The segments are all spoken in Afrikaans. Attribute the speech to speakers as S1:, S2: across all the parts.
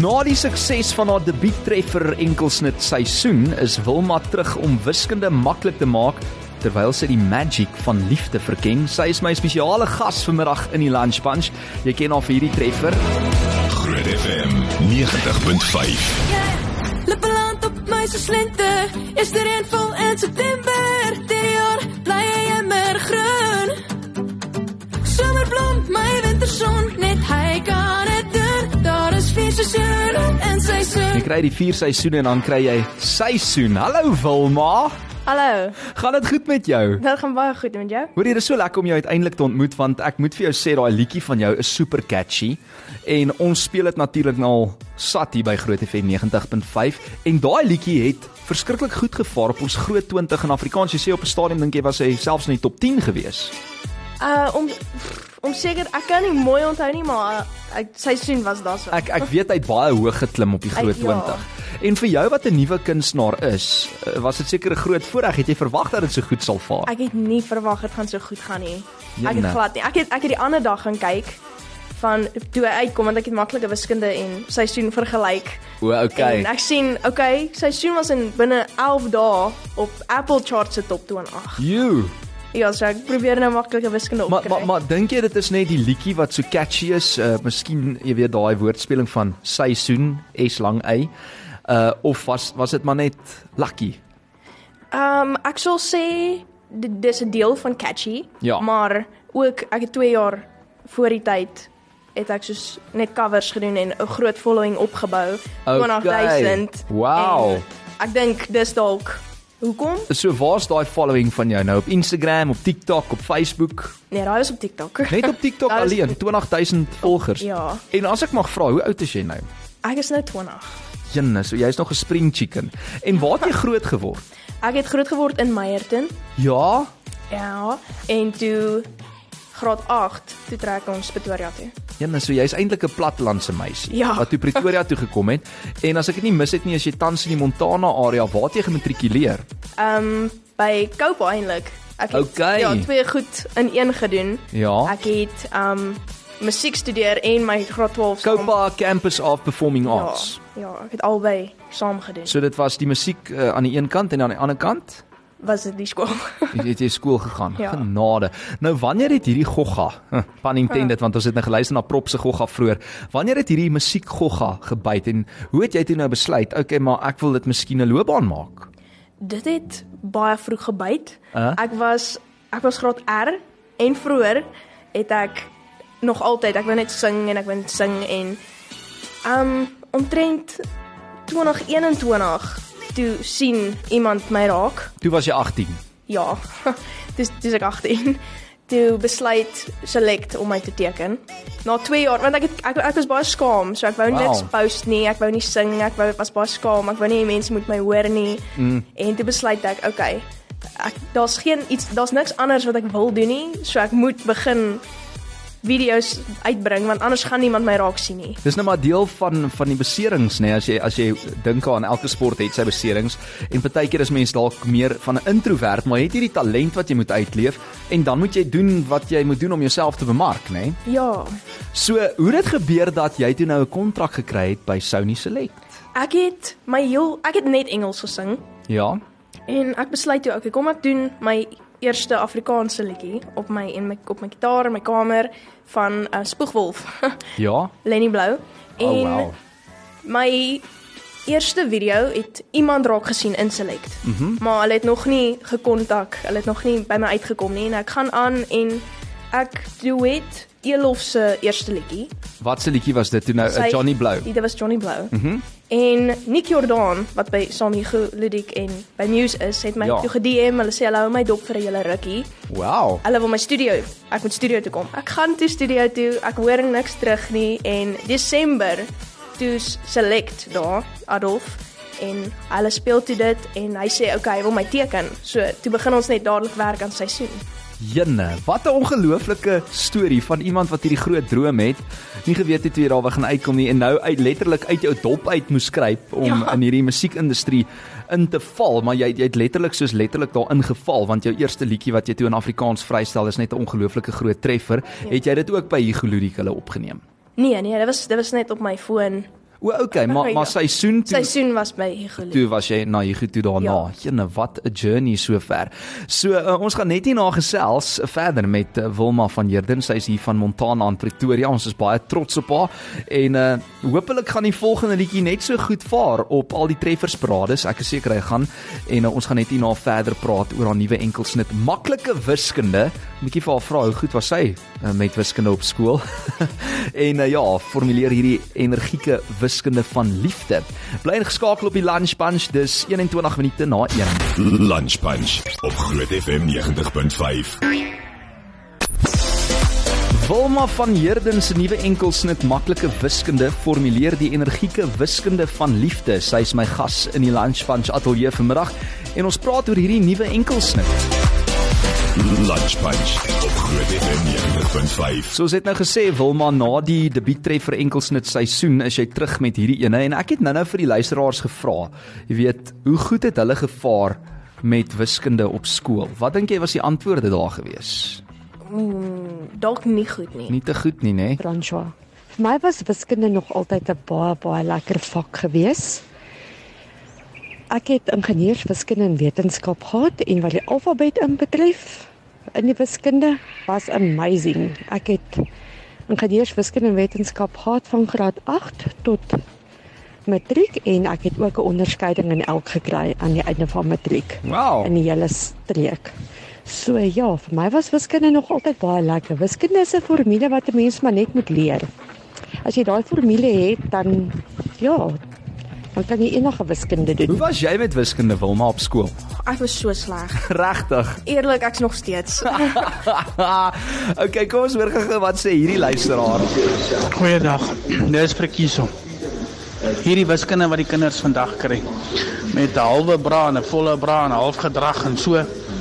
S1: Na die sukses van haar debuuttreffer enkelsnit seisoen is Wilma terug om wiskunde maklik te maak terwyl sy die magic van liefde verken. Sy is my spesiale gas vanmiddag in die Lunch Punch. Jy ken haar vir hierdie treffer.
S2: Groot FM 90.5.
S3: Lippe land op my so slinte. Eerste reënval in September. Die jaar bly hy immer groen. Somerblom, my winterson, net hy kan dit doen. Daar is vier seisoene in
S1: Jy
S3: seisoen.
S1: kry die vier seisoene en dan kry jy seisoen. Hallo Wilma,
S4: Hallo,
S1: gaan dit goed met jou?
S4: dit gaan baie goed met jou.
S1: Hoor jy, dit is so lekker om jou uiteindelik te ontmoet want ek moet vir jou sê daai liedjie van jou is super catchy en ons speel dit natuurlik nou al sat hier by Groot FM 90.5 en daai liedjie het verskriklik goed gevaar op ons Groot 20 in Afrikaans. Jy sê op 'n stadium dink jy was hy selfs in die top 10 gewees.
S4: Uh om pff, om seker ek kan nie mooi onthou nie, maar uh, ek seisoen was daar so.
S1: Ek ek weet hy het baie hoog geklim op die Groot
S4: Ek- ja.
S1: 20. En vir jou wat 'n nuwe kunstenaar is, eh, was dit seker 'n groot voorreg. Het jy verwag dat dit so goed sal vaar?
S4: Ek het nie verwag dit gaan so goed gaan nie. Ek
S1: Jene.
S4: het glad nie. Ek het ek het die ander dag gaan kyk van toe hy uitkom want ek het maklike wiskunde en seisoen vergelyk.
S1: O, okay.
S4: En ek sien, okay, seisoen was in binne 11 dae op Apple Chart se top 208.
S1: You.
S4: Ja, so ek probeer nou maklike wiskunde
S1: Maar
S4: opkry.
S1: maar maar dink jy dit is net die liedjie wat so catchy is, uh miskien jy weet daai woordspeling van seisoen S lang y. Uh of was was dit maar net lucky?
S4: Ehm ek sal sê di- dis 'n deel van catchy,
S1: Ja.
S4: maar ook ek het 2 jaar voor die tyd het ek soos net covers gedoen en 'n groot following opgebou,
S1: Okay.
S4: 20000.
S1: Wow.
S4: En Ek dink dis dalk hoekom?
S1: So waar's daai following van jou nou op Instagram, op TikTok, op Facebook?
S4: Nee, daai is op TikTok.
S1: Net op TikTok
S4: Daar is-
S1: alleen 20000 volgers.
S4: Ja.
S1: En as ek mag vra, hoe oud is jy nou?
S4: Ek is nou 20.
S1: Jenne, so jy's nog 'n spring chicken. En waar het jy groot geword?
S4: Ek het groot geword in Meyerton.
S1: Ja,
S4: Ja, en toe graad 8 toe trek ons Pretoria toe.
S1: Jenne, Ja, nou, so jy's eintlik 'n plattelandse meisie
S4: Ja.
S1: wat toe Pretoria toe gekom het. En as ek dit nie mis het nie, as jy tans in die Montana area waar het jy gematrikuleer?
S4: Ehm um, by Copa eintlik. Ek het
S1: Okay.
S4: ja, twee goed in een gedoen.
S1: Ja.
S4: Ek het ehm um, musiek studeer en my graad 12
S1: Copa Campus of Performing
S4: Ja,
S1: Arts.
S4: ja, ek het albei saam gedoen.
S1: So dit was die musiek uh, aan die een kant en aan die ander kant
S4: Was dit die skool?
S1: het jy- jy skool gegaan.
S4: Ja.
S1: Genade. Nou wanneer het hierdie gogga, pan intended
S4: Ja.
S1: want ons het nou geluister na prop se gogga vroeër. Wanneer het hierdie musiek gogga gebyt en hoe het jy toe nou besluit, okay, maar ek wil dit miskien 'n loopbaan maak?
S4: dit het baie vroeg gebyt.
S1: Uh?
S4: Ek was ek was graad R en vroeër het ek nog altyd ek wou net sing en ek wou net sing en um omtrent 2021 toe sien iemand my raak
S1: Toe was jy 18.
S4: Ja. Dis dis ek 18. Toe besluit Select om my te teken. Na 2 jaar want ek het, ek ek was baie skaam, so ek wou
S1: Wow.
S4: wow. niks post nie, ek wou nie sing, ek wou was baie skaam, ek wou nie mense moet my hoor nie. Mm. En toe besluit ek, okay, ek daar's geen iets, daar's niks anders wat ek wil doen nie, so ek moet begin video's uitbring want anders gaan niemand my raak sien nie.
S1: Dis nou maar deel van van die beserings nê nee, as jy as jy dink aan elke sport het sy beserings en baie keer is mens dalk meer van 'n introvert maar jy het hierdie talent wat jy moet uitleef en dan moet jy doen wat jy moet doen om jouself te bemark nê. Nee?
S4: Ja.
S1: So hoe het dit gebeur dat jy toe nou 'n kontrak gekry het by Sony Select?
S4: Ek het my heel ek het net Engels gesing.
S1: Ja.
S4: En ek besluit toe, okay, kom ek doen my eerste Afrikaanse liedjie op my en my op my gitaar in my kamer van uh, Spoegwolf,
S1: Ja.
S4: Lenny Blou. En
S1: Oh wow.
S4: my eerste video het iemand raak gesien in Select. Mm
S1: Mhm.
S4: -hmm. Maar hulle het nog nie gekontak, hulle het nog nie by my uitgekom nie en ek gaan aan en ek duet Elof se eerste liedjie.
S1: Wat se liedjie was dit toe nou? Sy,
S4: Sy-
S1: Johnny Blou.
S4: Dit was Eh, Johnny Blou. Mhm. Mm en Nick Jordan wat by Sami Ludik en by Muse is, het my
S1: Ja.
S4: ja. toe gedm. Hulle sê hulle hou my dop vir 'n hele rukkie.
S1: Wow.
S4: Hulle wil my studio. Ek moet studio toe kom. Ek gaan toe studio toe. Ek hoor niks terug nie en Desember toe s- select daar Adolf en hulle speel toe dit en hy sê okay, hy wil my teken. So toe begin ons net dadelik werk aan seisoen.
S1: Jenne, wat 'n ongelooflike storie van iemand wat hierdie groot droom het, nie geweet het hoe jy daar wou gaan uitkom nie en nou uit letterlik uit jou dop uit moes skryp om ja.
S4: Ja.
S1: in hierdie musiekindustrie in te val, maar jy jy het letterlik soos letterlik daarin geval want jou eerste liedjie wat jy toe in Afrikaans vrystel is net 'n ongelooflike groot treffer. Ja. Het jy dit ook by Hugo Ludik hulle opgeneem?
S4: Nee, nee, dit was dit was net op my foon.
S1: O, okay, maar maar
S4: Ja.
S1: seisoen toe
S4: Seisoen was by Igoli.
S1: toe was jy na Hugo toe daarna.
S4: Ja.
S1: Jene, wat 'n journey sover. So uh, ons gaan net hierna gesels verder met uh, Wilma van Heerden. Sy is hier van Montana aan Pretoria. Ons is baie trots op haar en uh hopelik gaan die volgende liedjie net so goed vaar op al die treffersparades. Ek is seker hy gaan en uh, ons gaan net hierna verder praat oor haar nuwe enkelsnit maklike wiskunde. 'n Bietjie vir haar vra hoe goed was sy uh, met wiskunde op skool. en uh, ja, formuleer hierdie energieke wiskunde van liefde. Bly ingeskakel op die Lunch Punch. Dis 21 minute na 1.
S2: Lunch Punch op Groot FM 90.5.
S1: Wilma van Heerden se nuwe enkelsnit maklike wiskunde formuleer die energieke wiskunde van liefde. Sy is my gas in die Lunch Punch ateljee vanmiddag en ons praat oor hierdie nuwe enkelsnit.
S2: Lunch Punch op Groot FM 90.5.
S1: Soos dit nou gesê Wilma na die debuuttref vir enkelsnit seisoen is jy terug met hierdie ene en ek het nou-nou vir die luisteraars gevra, jy weet, hoe goed het hulle gevaar met wiskunde op skool? Wat dink jy was die antwoorde daar gewees?
S4: Dalk nie goed nie.
S1: Nie te goed nie, nê?
S5: François. Vir my was wiskunde nog altyd 'n baie baie lekker vak gewees. Ek het ingenieurswiskunde en wetenskap gehad en wat die alfabet inbetref in die wiskunde was amazing. Ek het ingenieurswiskunde en wetenskap gehad van graad 8 tot matriek en ek het ook 'n onderskeiding in elk gekry aan die einde van matriek
S1: Wow.
S5: in die hele streek. So ja, vir my was wiskunde nog altyd baie lekker. Wiskunde is 'n formule wat 'n mens maar net moet leer. As jy daai formule het, dan ja, dan kan jy enige wiskunde
S1: Hoe
S5: doen.
S1: was jy met wiskunde Wilma op skool?
S4: Ek was so sleg.
S1: Regtig?
S4: Eerlik, ek's nog steeds.
S1: okay, kom ons hoor gou-gou wat sê hierdie luisteraar.
S6: Goeiedag. Nou Dis Frikieso. Hierdie wiskunde wat die kinders vandag kry met 'n halwe bra en 'n volle bra en 'n half gedrag en so.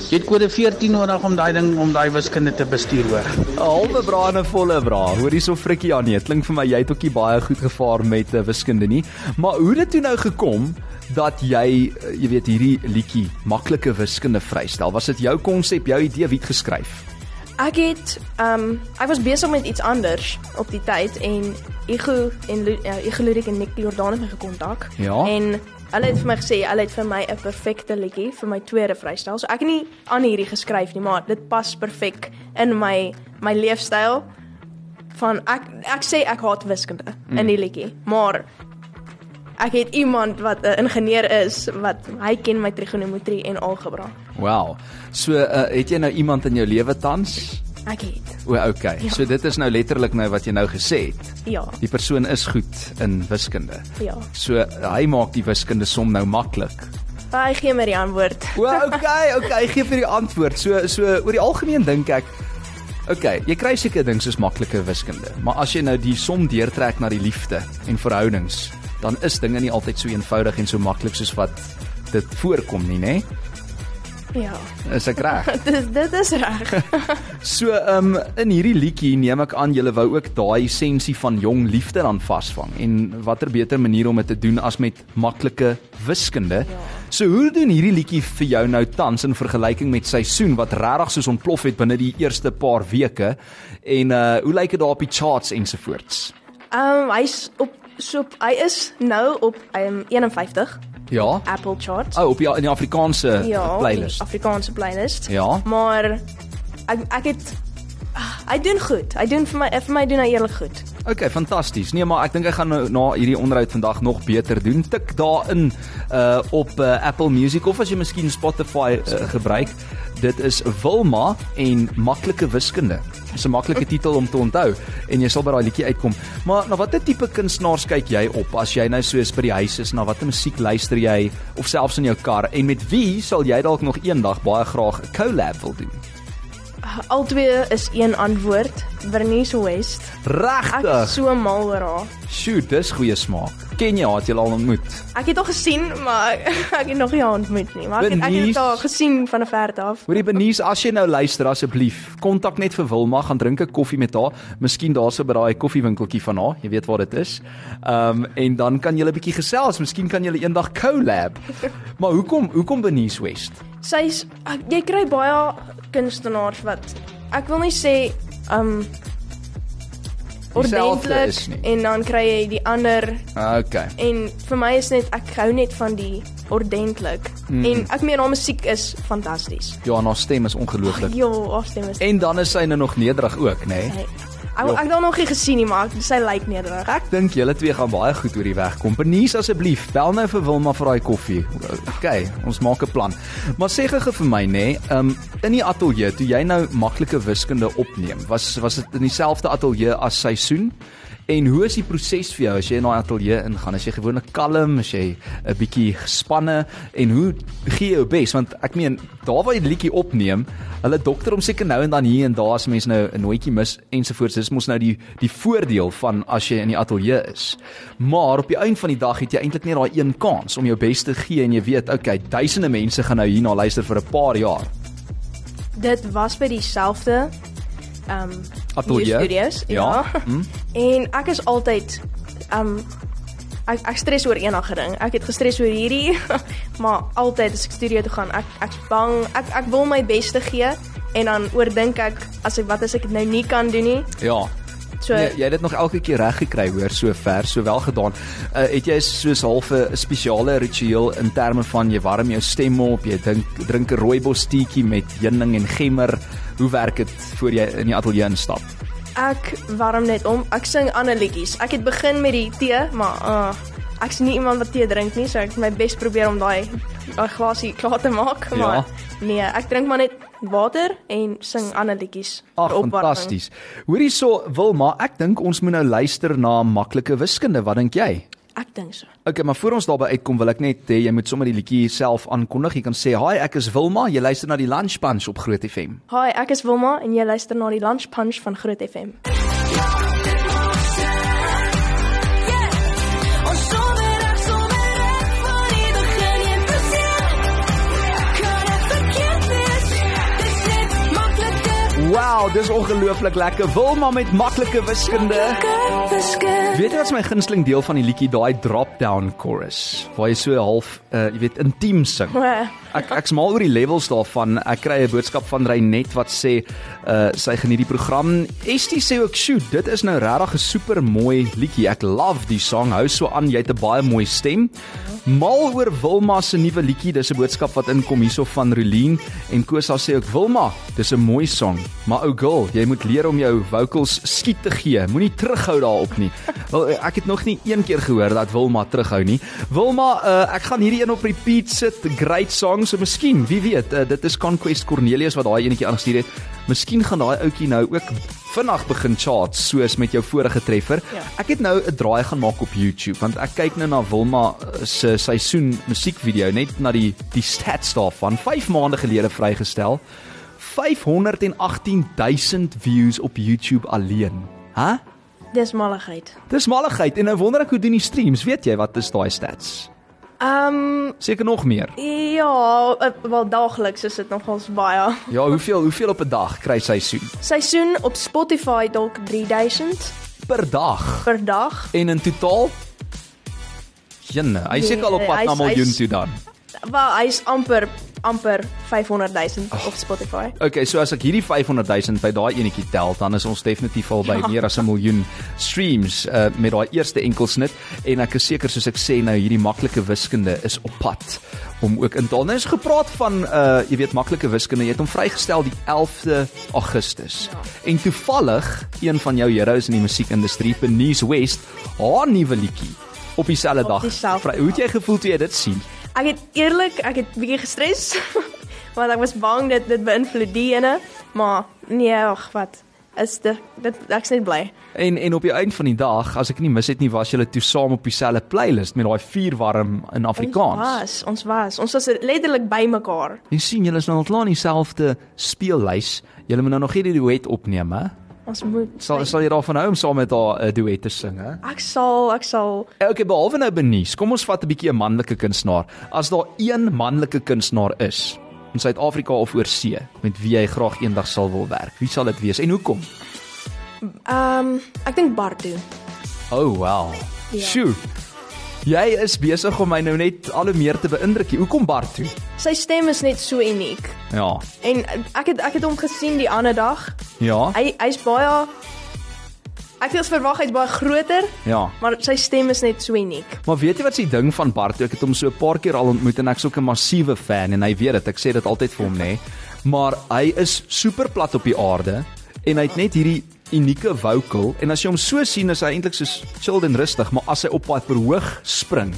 S6: Jy het kode 14 nodig om daai ding om daai wiskunde te bestuur hoor.
S1: 'n Halwe bra en 'n volle bra. Hoor hierso frikkie aan nie. Dit klink vir my jy het ookie baie goed gevaar met uh, wiskunde nie. Maar hoe het dit toe nou gekom dat jy, eh, jy weet hierdie liedjie maklike wiskunde vrystel? Was dit jou konsep, jou idee wie het geskryf?
S4: Ek het um ek was besig met iets anders op die tyd en Igu en Lu- eh, Igu Ludik en Nick Jordan het my gekontak.
S1: Ja.
S4: En hulle het vir my gesê hulle het vir my 'n perfekte liedjie vir my tweede vrystel. So ek het nie aan hierdie geskryf nie, maar dit pas perfek in my my leefstyl van ek ek sê ek haat wiskunde mm. in die liedjie, maar ek het iemand wat 'n ingenieur is wat hy ken my trigonometrie en algebra.
S1: Wow. So uh, het jy nou iemand in jou lewe tans?
S4: Ek het.
S1: O, okay. Ja. So dit is nou letterlik nou wat jy nou gesê het.
S4: Ja.
S1: Die persoon is goed in wiskunde.
S4: Ja.
S1: So hy maak die wiskunde som nou maklik.
S4: Hy gee my die antwoord.
S1: O, okay, okay, gee vir die antwoord. So so oor die algemeen dink ek Okay, jy kry seker ding soos maklike wiskunde, maar as jy nou die som deurtrek na die liefde en verhoudings, dan is dinge nie altyd so eenvoudig en so maklik soos wat dit voorkom nie, nê?
S4: Ja.
S1: Is ek reg?
S4: Dit dit is reg.
S1: So, ehm um, in hierdie liedjie neem ek aan julle wou ook daai essensie van jong liefde dan vasvang. En watter beter manier om dit te doen as met maklike wiskunde? Ja. So, hoe doen hierdie liedjie vir jou nou tans in vergelyking met seisoen wat regtig soos ontplof het binne die eerste paar weke? En uh hoe lyk dit daar op die charts ensovoorts?
S4: Ehm um, hy's op so op- hy is nou op um, 51
S1: Ja.
S4: Apple Chart.
S1: O, oh, op die, in die Afrikaanse
S4: ja,
S1: playlist.
S4: die Afrikaanse playlist.
S1: Ja.
S4: Maar ek ek het ah, hy doen goed. Hy doen vir my vir my doen hy eerlik goed.
S1: Okay, fantasties. Nee, maar ek dink ek gaan nou na hierdie onderhoud vandag nog beter doen. Tik daarin uh op uh, Apple Music of as jy miskien Spotify uh, gebruik. Dit is Wilma en maklike wiskunde. Dis 'n maklike titel om te onthou en jy sal by daai liedjie uitkom. Maar na watter tipe kunstenaars kyk jy op as jy nou soos by die huis is? Na watter musiek luister jy of selfs in jou kar? En met wie sal jy dalk nog eendag baie graag 'n collab wil doen?
S4: Albei is een antwoord. Bernice West. Ek is
S1: Regtig?
S4: so mal oor haar.
S1: Sjoe, dis goeie smaak. Ken jy haar? Het jy al ontmoet?
S4: Ek het haar gesien, maar ek het nog nie haar ontmoet nie. Maar ek het, ek
S1: Bernice.
S4: het haar gesien van 'n verte af.
S1: Hoorie Benies, as jy nou luister asseblief, kontak net vir Wilma, gaan drink 'n koffie met haar. Miskien daarso by daai koffiewinkeltjie van haar, jy weet waar dit is. Ehm um, en dan kan julle 'n bietjie gesels, miskien kan julle eendag collab. Maar hoekom hoekom Benies West?
S4: sy's ek- jy kry baie kunstenaars wat ek wil nie sê um
S1: Dieselfde is
S4: ehm, ordentlik
S1: nie.
S4: en dan kry jy die ander
S1: Okay.
S4: en vir my is net ek hou net van die ordentlik mm. en ek meen haar musiek is fantasties.
S1: Ja, en haar stem is ongelooflik.
S4: Ja, haar stem is
S1: En dan is sy nou nog nederig ook, nê? Nee?
S4: Sy- Ek ek het haar nog nie gesien nie, maar ek- sy lyk nederig.
S1: Ek dink julle twee gaan baie goed oor die weg kom. Bernice asseblief, bel nou vir Wilma vir daai koffie. Okay, ons maak 'n plan. Maar sê gou vir my nê, nee, um, in die ateljee toe jy nou maklike wiskunde opneem, was was dit in dieselfde ateljee as seisoen? En hoe is die proses vir jou as jy in daai ateljee ingaan? As jy gewoonlik kalm, as jy 'n bietjie gespanne en hoe gee jy jou bes? Want ek meen, daar waar jy die liedjie opneem, hulle dokter hom seker nou en dan hier en daar as mense nou 'n nootjie mis ensovoorts. Dis mos nou die die voordeel van as jy in die ateljee is. Maar op die einde van die dag het jy eintlik net daai een kans om jou bes te gee en jy weet, okay, duisende mense gaan nou hierna luister vir 'n paar jaar.
S4: Dit was by dieselfde ehm um,
S1: Ateljee?
S4: Studios, ja.
S1: Ja,
S4: ja. Mm. En ek is altyd ehm um, ek ek stres oor enige ding. Ek het gestres oor hierdie, maar altyd as ek studio toe gaan, ek ek's bang. Ek ek wil my bes te gee en dan oordink ek as ek wat as ek dit nou nie kan doen nie.
S1: Ja.
S4: So
S1: Nee, jy het dit nog elke keer reg gekry hoor sover, so wel gedaan. Uh, het jy soos half 'n spesiale ritueel in terme van jy warm jou stem op, jy dink drink 'n rooibos teetjie met heuning en gemmer. Hoe werk dit voor jy in die ateljee instap?
S4: Ek warm net om. Ek sing ander liedjies. Ek het begin met die tee, maar uh, ek's nie iemand wat tee drink nie, so ek het my bes probeer om daai daai glasie klaar te maak,
S1: Ja.
S4: maar nee, ek drink maar net water en sing ander liedjies.
S1: Ag,
S4: vir opwarming.
S1: fantasties. Hoor hierso Wilma, ek dink ons moet nou luister na maklike wiskunde. Wat dink jy?
S4: Ek dink so.
S1: Okay, maar voor ons daarby uitkom, wil ek net hê jy moet sommer die liedjie self aankondig. Jy kan sê, "Hi, ek is Wilma. Jy luister na die Lunch Punch op Groot FM."
S4: Hi, ek is Wilma en jy luister na die Lunch Punch van Groot FM.
S3: Ons sommer reg, sommer reg, van die begin en tot sien. Kan ek verkeerd wees? Dis net maklike-
S1: Wow, dis ongelooflik lekker. Wilma met maklike wiskunde.
S3: maklike wiskunde.
S1: Weet jy wat is my gunsteling deel van die liedjie, daai drop-down chorus, waar jy so half, uh, jy weet, intiem sing.
S4: Wah.
S1: Ek ek's mal oor die levels daarvan. Ek kry 'n boodskap van Reinet wat sê, uh sy geniet die program. Estie sê ook, "Sjoe, dit is nou regtig 'n super mooi liedjie. Ek love die song. Hou so aan. Jy het 'n baie mooi stem." Mal oor Wilma se nuwe liedjie. Dis 'n boodskap wat inkom hierso van Roolien en Kosa sê ook, "Wilma, dis 'n mooi song, maar ou girl, jy moet leer om jou vocals skiet te gee. Moenie terughou daarop nie." Wel, ek het nog nie een keer gehoor dat Wilma terughou nie. Wilma, uh, ek gaan hierdie een op repeat sit. Great song, so miskien, wie weet, uh, dit is Conquest Cornelius wat daai enetjie aangestuur het. Miskien gaan daai ouetjie nou ook vinnig begin charts soos met jou vorige treffer.
S4: Ja.
S1: Ek het nou 'n draai gaan maak op YouTube want ek kyk nou na Wilma se seisoen musiekvideo net na die die stats daarvan 5 maande gelede vrygestel. 518000 views op YouTube alleen. Hæ? Huh?
S4: Dis malligheid.
S1: Dis malligheid en nou wonder ek hoe doen die streams. Weet jy wat is daai stats?
S4: Ehm um,
S1: Seker nog meer.
S4: ja, eh, wel daagliks is dit nogals baie.
S1: Ja, hoeveel hoeveel op 'n dag kry seisoen?
S4: Seisoen op Spotify dalk 3000
S1: Per dag.
S4: per dag.
S1: En in totaal Jenne, hy
S4: Nee,
S1: seker al op pad
S4: hy
S1: na
S4: is- hy
S1: miljoen
S4: is-
S1: toe dan.
S4: Wel, hy's amper amper 500.000 op Spotify.
S1: Okay, so as ek hierdie 500 000 by daai enetjie tel, dan is ons definitief al by ja. meer as 'n miljoen streams uh, met daai eerste enkelsnit en ek is seker soos ek sê nou hierdie maklike wiskunde is op pad om ook in te haal. Nou is gepraat van uh jy weet maklike wiskunde, jy het hom vrygestel die 11de Augustus. Ja. En toevallig een van jou heroes in die musiekindustrie, Benice West, haar nuwe liedjie op dieselfde dag.
S4: dieselfde
S1: vry- Hoe het jy gevoel toe jy dit sien?
S4: Ek het eerlik, ek het bietjie gestres want ek was bang dit dit beïnvloed die ene, maar nee, ag wat. Is dit dit ek's net bly.
S1: En en op die einde van die dag, as ek nie mis het nie, was julle toe saam op dieselfde playlist met daai vier warm in Afrikaans.
S4: Ons was, ons was, ons was letterlik by mekaar.
S1: Jy sien, julle is nou al klaar in dieselfde speellys. Julle moet nou nog hierdie duet opneem, hè?
S4: Ons moet
S1: Sal sal jy daarvan hou om saam met haar 'n duet te sing, hè?
S4: Ek sal, ek sal.
S1: Okay, behalwe nou Benies, kom ons vat 'n bietjie 'n manlike kunstenaar. As daar een manlike kunstenaar is in Suid-Afrika of oorsee met wie jy graag eendag sal wil werk, wie sal dit wees en hoekom?
S4: Ehm, um, ek dink Bartu.
S1: Oh wow.
S4: Ja.
S1: Sjoe. Jy is besig om my nou net al hoe meer te beïndruk. Hoekom Bart toe?
S4: Sy stem is net so uniek.
S1: Ja. Oh.
S4: En ek het ek het hom gesien die ander dag
S1: Ja.
S4: Hy hy's baie Ek dink sy verwagting is baie groter,
S1: Ja.
S4: maar sy stem is net so uniek.
S1: Maar weet jy wat se ding van Bart? Ek het hom so 'n paar keer al ontmoet en ek's ook 'n massiewe fan en hy weet dit. Ek sê dit altyd vir hom, nê. Nee. Maar hy is super plat op die aarde en hy het net hierdie unieke vocal en as jy hom so sien is hy eintlik so chill en rustig, maar as hy op pad verhoog spring,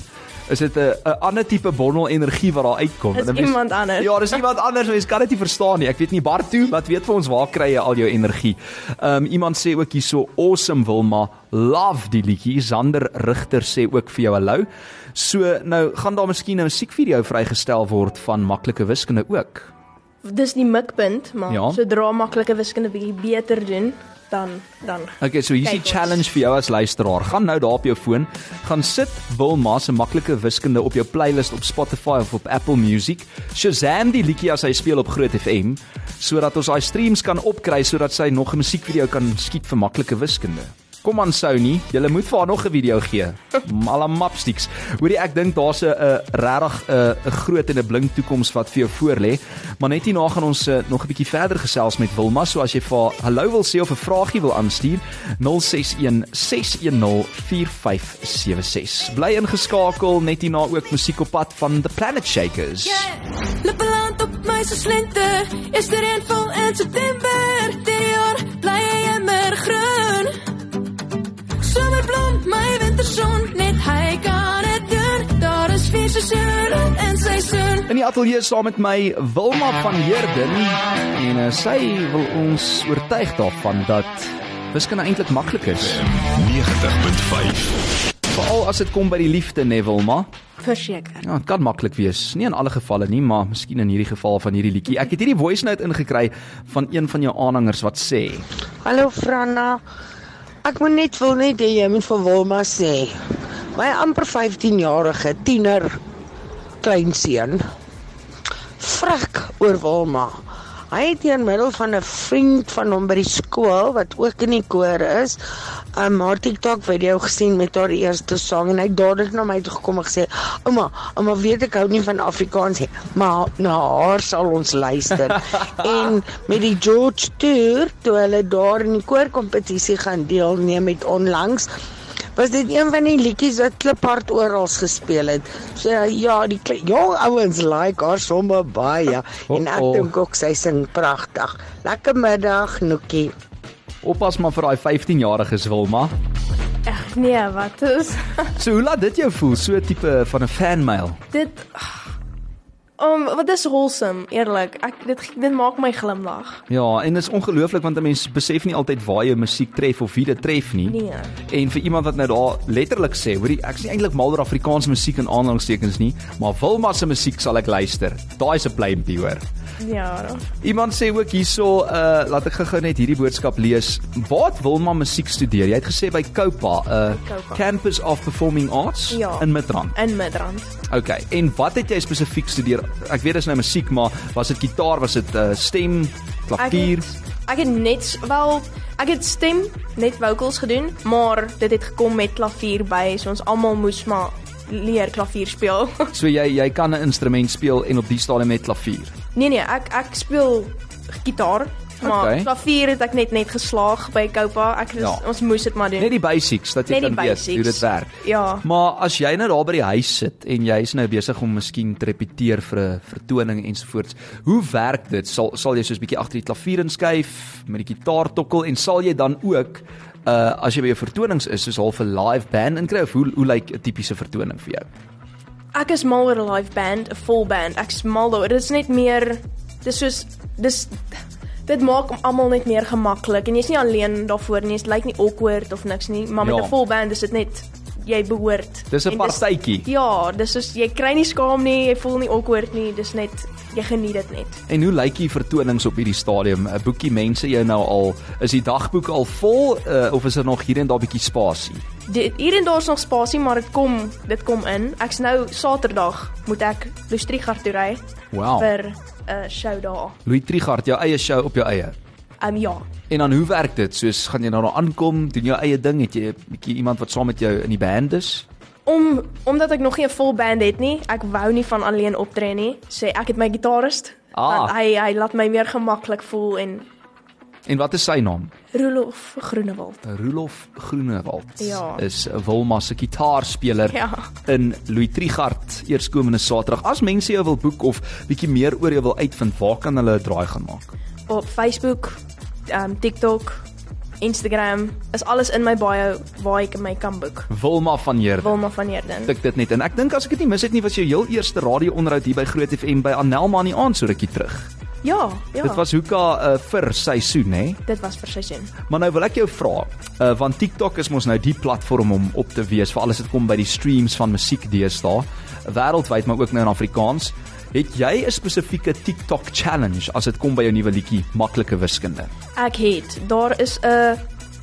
S1: is dit 'n 'n ander tipe bondel energie wat daar uitkom.
S4: Dis
S1: En 'n mens-
S4: iemand anders.
S1: Ja, dis iemand anders, mens kan dit nie verstaan nie. Ek weet nie Bart toe, wat weet vir ons waar kry jy al jou energie? Ehm um, iemand sê ook hierso awesome Wilma, love die liedjie. Zander Rigter sê ook vir jou hallo. So nou gaan daar miskien 'n musiekvideo vrygestel word van maklike wiskunde ook.
S4: Dis die mikpunt, maar
S1: Ja.
S4: ja. sodra maklike wiskunde bietjie beter doen, dan dan
S1: Okay, so hier's die
S4: Kyk ons.
S1: challenge vir jou as luisteraar. Gaan nou daar op jou foon, gaan sit Wilma se maklike wiskunde op jou playlist op Spotify of op Apple Music. Shazam die liedjie as hy speel op Groot FM sodat ons daai streams kan opkry sodat sy nog 'n musiekvideo kan skiet vir maklike wiskunde. Kom aan Sony, jy moet vir haar nog 'n video gee. Mala mapsticks. Hoorie, ek dink daar's eh, 'n 'n regtig 'n 'n groot en 'n blink toekoms wat vir jou voorlê. Maar net hierna gaan ons eh, nog 'n bietjie verder gesels met Wilma, so as jy vir haar hallo wil sê of 'n vragie wil aanstuur, 061 610 4576. Bly ingeskakel, net hierna ook musiek op pad van The Planet Shakers. Yeah.
S3: Lippe land op my se slente. Eerste reënval in September. Die jaar bly hy immer groen. Somerblom, my winterson, net hy kan dit doen. Daar is vier seisoene in seisoen.
S1: In die ateljee saam met my Wilma van Heerden en uh, sy wil ons oortuig daarvan dat wiskunde eintlik maklik is,
S2: 90.5
S1: veral as dit kom by die liefde, né Wilma?
S4: verseker.
S1: Ja, dit kan maklik wees. Nie in alle gevalle nie, maar miskien in hierdie geval van hierdie liedjie. Ek het hierdie voice note ingekry van een van jou aanhangers wat sê:
S7: Hallo Franna. Ek moet net wil net hê jy moet vir Wilma sê. My amper 15-jarige tiener kleinseun vrek oor Wilma. Hy het deur middel van 'n vriend van hom by die skool wat ook in die koor is, 'n haar TikTok video gesien met haar eerste sang en hy het dadelik na my toe gekom en gesê: "Ouma, ouma weet ek hou nie van Afrikaans nie, maar na haar sal ons luister." en met die George Tour toe hulle daar in die koorkompetisie gaan deelneem het onlangs was dit een van die liedjies wat kliphard oral gespeel het. So ja, die kle- jong ouens like haar sommer baie en ek
S1: Oh, oh.
S7: dink ook sy sing pragtig. Lekker middag, Noekie.
S1: "Oppas maar vir daai 15-jariges Wilma."
S4: Ag nee, wat is
S1: So hoe laat dit jou voel, so 'n tipe van 'n fanmail?
S4: dit? Um, wat is wholesome, eerlik. Ek dit dit maak my glimlag.
S1: Ja, en dit is ongelooflik want 'n mens besef nie altyd waar jou musiek tref of wie dit tref nie.
S4: Nee.
S1: En vir iemand wat nou daar letterlik sê, hoorie, ek's nie eintlik mal oor Afrikaanse musiek en aanhalingstekens nie, maar Wilma se musiek sal ek luister. Daai is 'n pleintjie hoor.
S4: Ja.
S1: Iemand sê ook hierso, uh laat ek gou-gou net hierdie boodskap lees. Waar het Wilma musiek studeer? Jy het gesê by Copa, uh
S4: Copa.
S1: Campus of Performing Arts
S4: Ja.
S1: in Midrand.
S4: In Midrand.
S1: Okay. En wat het jy spesifiek studeer? Ek weet dis nou musiek, maar was dit gitaar, was dit uh stem,
S4: Ek
S1: klavier?
S4: het, ek het net wel ek het stem net vocals gedoen, maar dit het gekom met klavier by, so ons almal moes maar leer klavier speel.
S1: So jy jy kan 'n instrument speel en op die stadium met klavier.
S4: nee nee, ek ek speel gitaar, maar
S1: Okay.
S4: okay. klavier het ek net net geslaag by Copa. Ek is,
S1: Ja.
S4: ja. ons moes dit maar doen.
S1: Net die basics dat jy
S4: Net die
S1: kan weet
S4: basics.
S1: hoe dit werk.
S4: Ja.
S1: Maar as jy nou daar by die huis sit en jy's nou besig om miskien te repeteer vir 'n vertoning ensovoorts, hoe werk dit? Sal sal jy soos 'n bietjie agter die klavier inskuif met die gitaar tokkel en sal jy dan ook uh as jy by jou vertonings is, soos half 'n live band inkry of hoe hoe lyk 'n tipiese vertoning vir jou?
S4: Ek is mal oor 'n live band, 'n full band. Ek is mal daaroor. Dit is net meer dis soos dis dit maak hom almal net meer gemaklik en jy's nie alleen daarvoor nie. Dit lyk nie awkward of niks nie, maar met
S1: Ja.
S4: 'n full band is dit net jy behoort.
S1: Dis 'n
S4: En
S1: partytjie.
S4: Ja, dis soos jy kry nie skaam nie, jy voel nie awkward nie. Dis net jy geniet dit net.
S1: En hoe lyk die vertonings op hierdie stadium? 'n Boekie mense jou nou al, is die dagboek al vol uh, of is daar nog hier en daar bietjie spasie?
S4: Dit hier en daar is nog spasie, maar dit kom dit kom in. Ek's nou Saterdag moet ek Lustrigard toe ry
S1: Wow.
S4: vir 'n uh, show daar.
S1: Louis Trigard, jou eie show op jou eie.
S4: Ehm um, ja.
S1: En dan hoe werk dit? Soos gaan jy nou daar aankom, doen jou eie ding, het jy 'n bietjie iemand wat saam met jou in die band is?
S4: Om omdat ek nog nie 'n vol band het nie, ek wou nie van alleen optree nie. Sê ek het my gitarist.
S1: Ah.
S4: want Hy hy laat my meer gemaklik voel en
S1: En wat is sy naam?
S4: Rolof Groenewald.
S1: Rolof Groenewald
S4: Ja.
S1: is Wilma se gitaarspeler
S4: Ja.
S1: in Louis Trigard eerskomende Saterdag. As mense jou wil boek of bietjie meer oor jou wil uitvind, waar kan hulle 'n draai gaan maak?
S4: Op Facebook, um TikTok, Instagram, is alles in my bio waar ek my kan boek.
S1: Wilma van Heerden.
S4: Wilma van Heerden.
S1: Tik dit net en ek dink as ek dit nie mis het nie was jou heel eerste radio-onderhoud hier by Groot FM by Anelma in die aand so rukkie terug.
S4: Ja, ja.
S1: Dit was Hoeka uh, vir seisoen hè.
S4: dit was vir seisoen.
S1: Maar nou wil ek jou vra, uh, want TikTok is mos nou die platform om op te wees vir alles wat kom by die streams van musiek deesdae, wêreldwyd maar ook nou in Afrikaans. Het jy 'n spesifieke TikTok challenge as dit kom by jou nuwe liedjie Maklike Wiskunde?
S4: Ek het daar is 'n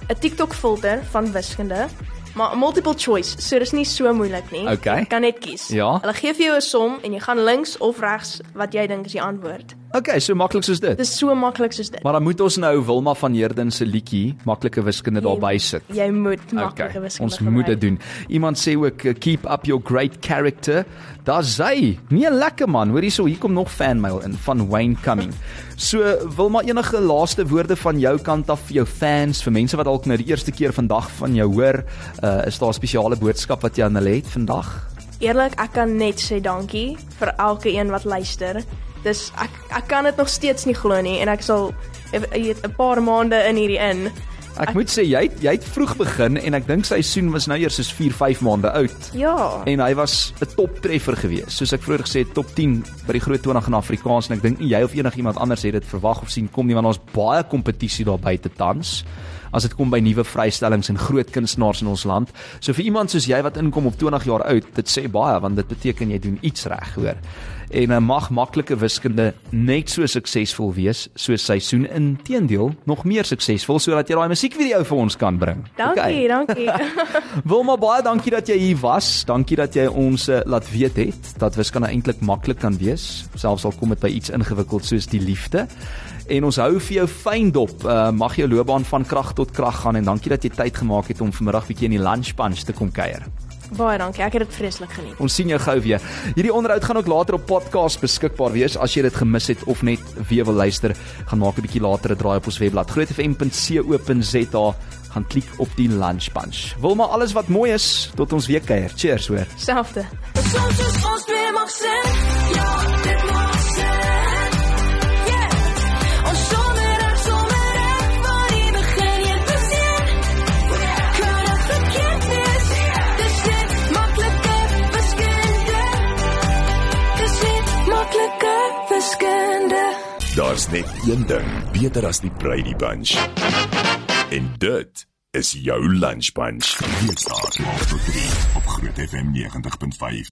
S4: 'n TikTok filter van wiskunde, maar multiple choice, so dis nie so moeilik nie.
S1: OK.
S4: Jy kan net kies.
S1: Ja.
S4: Hulle gee vir jou 'n som en jy gaan links of regs wat jy dink is die antwoord.
S1: Okay, so maklik soos dit.
S4: Dis so maklik soos dit.
S1: Maar dan moet ons nou Wilma van Heerden se liedjie Maklike Wiskunde
S4: Nee.
S1: daarby sit.
S4: Jy moet maklike
S1: Okay,
S4: wiskunde
S1: ons moet dit
S4: gebruik.
S1: doen. Iemand sê ook uh, keep up your great character. Daar's hy. Nee, lekker man. Hoor hierso, hier kom nog fanmail in van Wayne Cumming. So, wil maar enige laaste woorde van jou kant af vir jou fans, vir mense wat dalk nou die eerste keer vandag van jou hoor, uh, is daar 'n spesiale boodskap wat jy aan hulle het vandag?
S4: Eerlik, ek kan net sê dankie vir elke een wat luister. Dis ek ek kan dit nog steeds nie glo nie en ek sal ek weet 'n paar maande in hierdie in.
S1: Ek moet sê jy het, jy het vroeg begin en ek dink seisoen was nou eers soos 4-5 maande oud.
S4: Ja.
S1: en hy was 'n toptreffer gewees. Soos ek vroeër gesê het, top 10 by die Groot 20 in Afrikaans en ek dink nie jy of enigiemand anders het dit verwag of sien kom nie want ons baie kompetisie daar buite tans as dit kom by nuwe vrystellings en groot kunstenaars in ons land. So vir iemand soos jy wat inkom op 20 jaar oud, dit sê baie want dit beteken jy doen iets reg, hoor. En uh, mag maklike wiskunde net so suksesvol wees soos seisoen inteendeel nog meer suksesvol sodat jy daai musiekvideo vir ons kan bring.
S4: Dankie, dankie.
S1: Wilma baie dankie dat jy hier was. Dankie dat jy ons uh, laat weet het dat wiskunde eintlik maklik kan wees, selfs al kom dit by iets ingewikkeld soos die liefde. En ons hou vir jou fyn dop. Uh, mag jou loopbaan van krag tot krag gaan en dankie dat jy tyd gemaak het om vanmiddag bietjie in die lunch punch te kom kuier.
S4: Baie dankie. Ek het dit vreeslik geniet.
S1: Ons sien jou gou weer. Hierdie onderhoud gaan ook later op podcast beskikbaar wees as jy dit gemis het of net weer wil luister, gaan maak 'n bietjie later 'n draai op ons webblad grootfm.co.za, gaan klik op die lunch punch. Wil maar alles wat mooi is tot ons weer kuier. Cheers hoor.
S4: Selfde.
S3: Soms is ons twee maak sin. Ja, dit maak sin. Yeah. Ons sommer reg, sommer reg van die begin heen tot seën. Kan ek verkeerd wees? Dis net maklike wiskunde. Dis net maklike wiskunde.
S2: Daar's net een ding beter as die Brady Bunch. En dit is jou lunch bunch. Weekdae om 3 op Groot FM 90.5.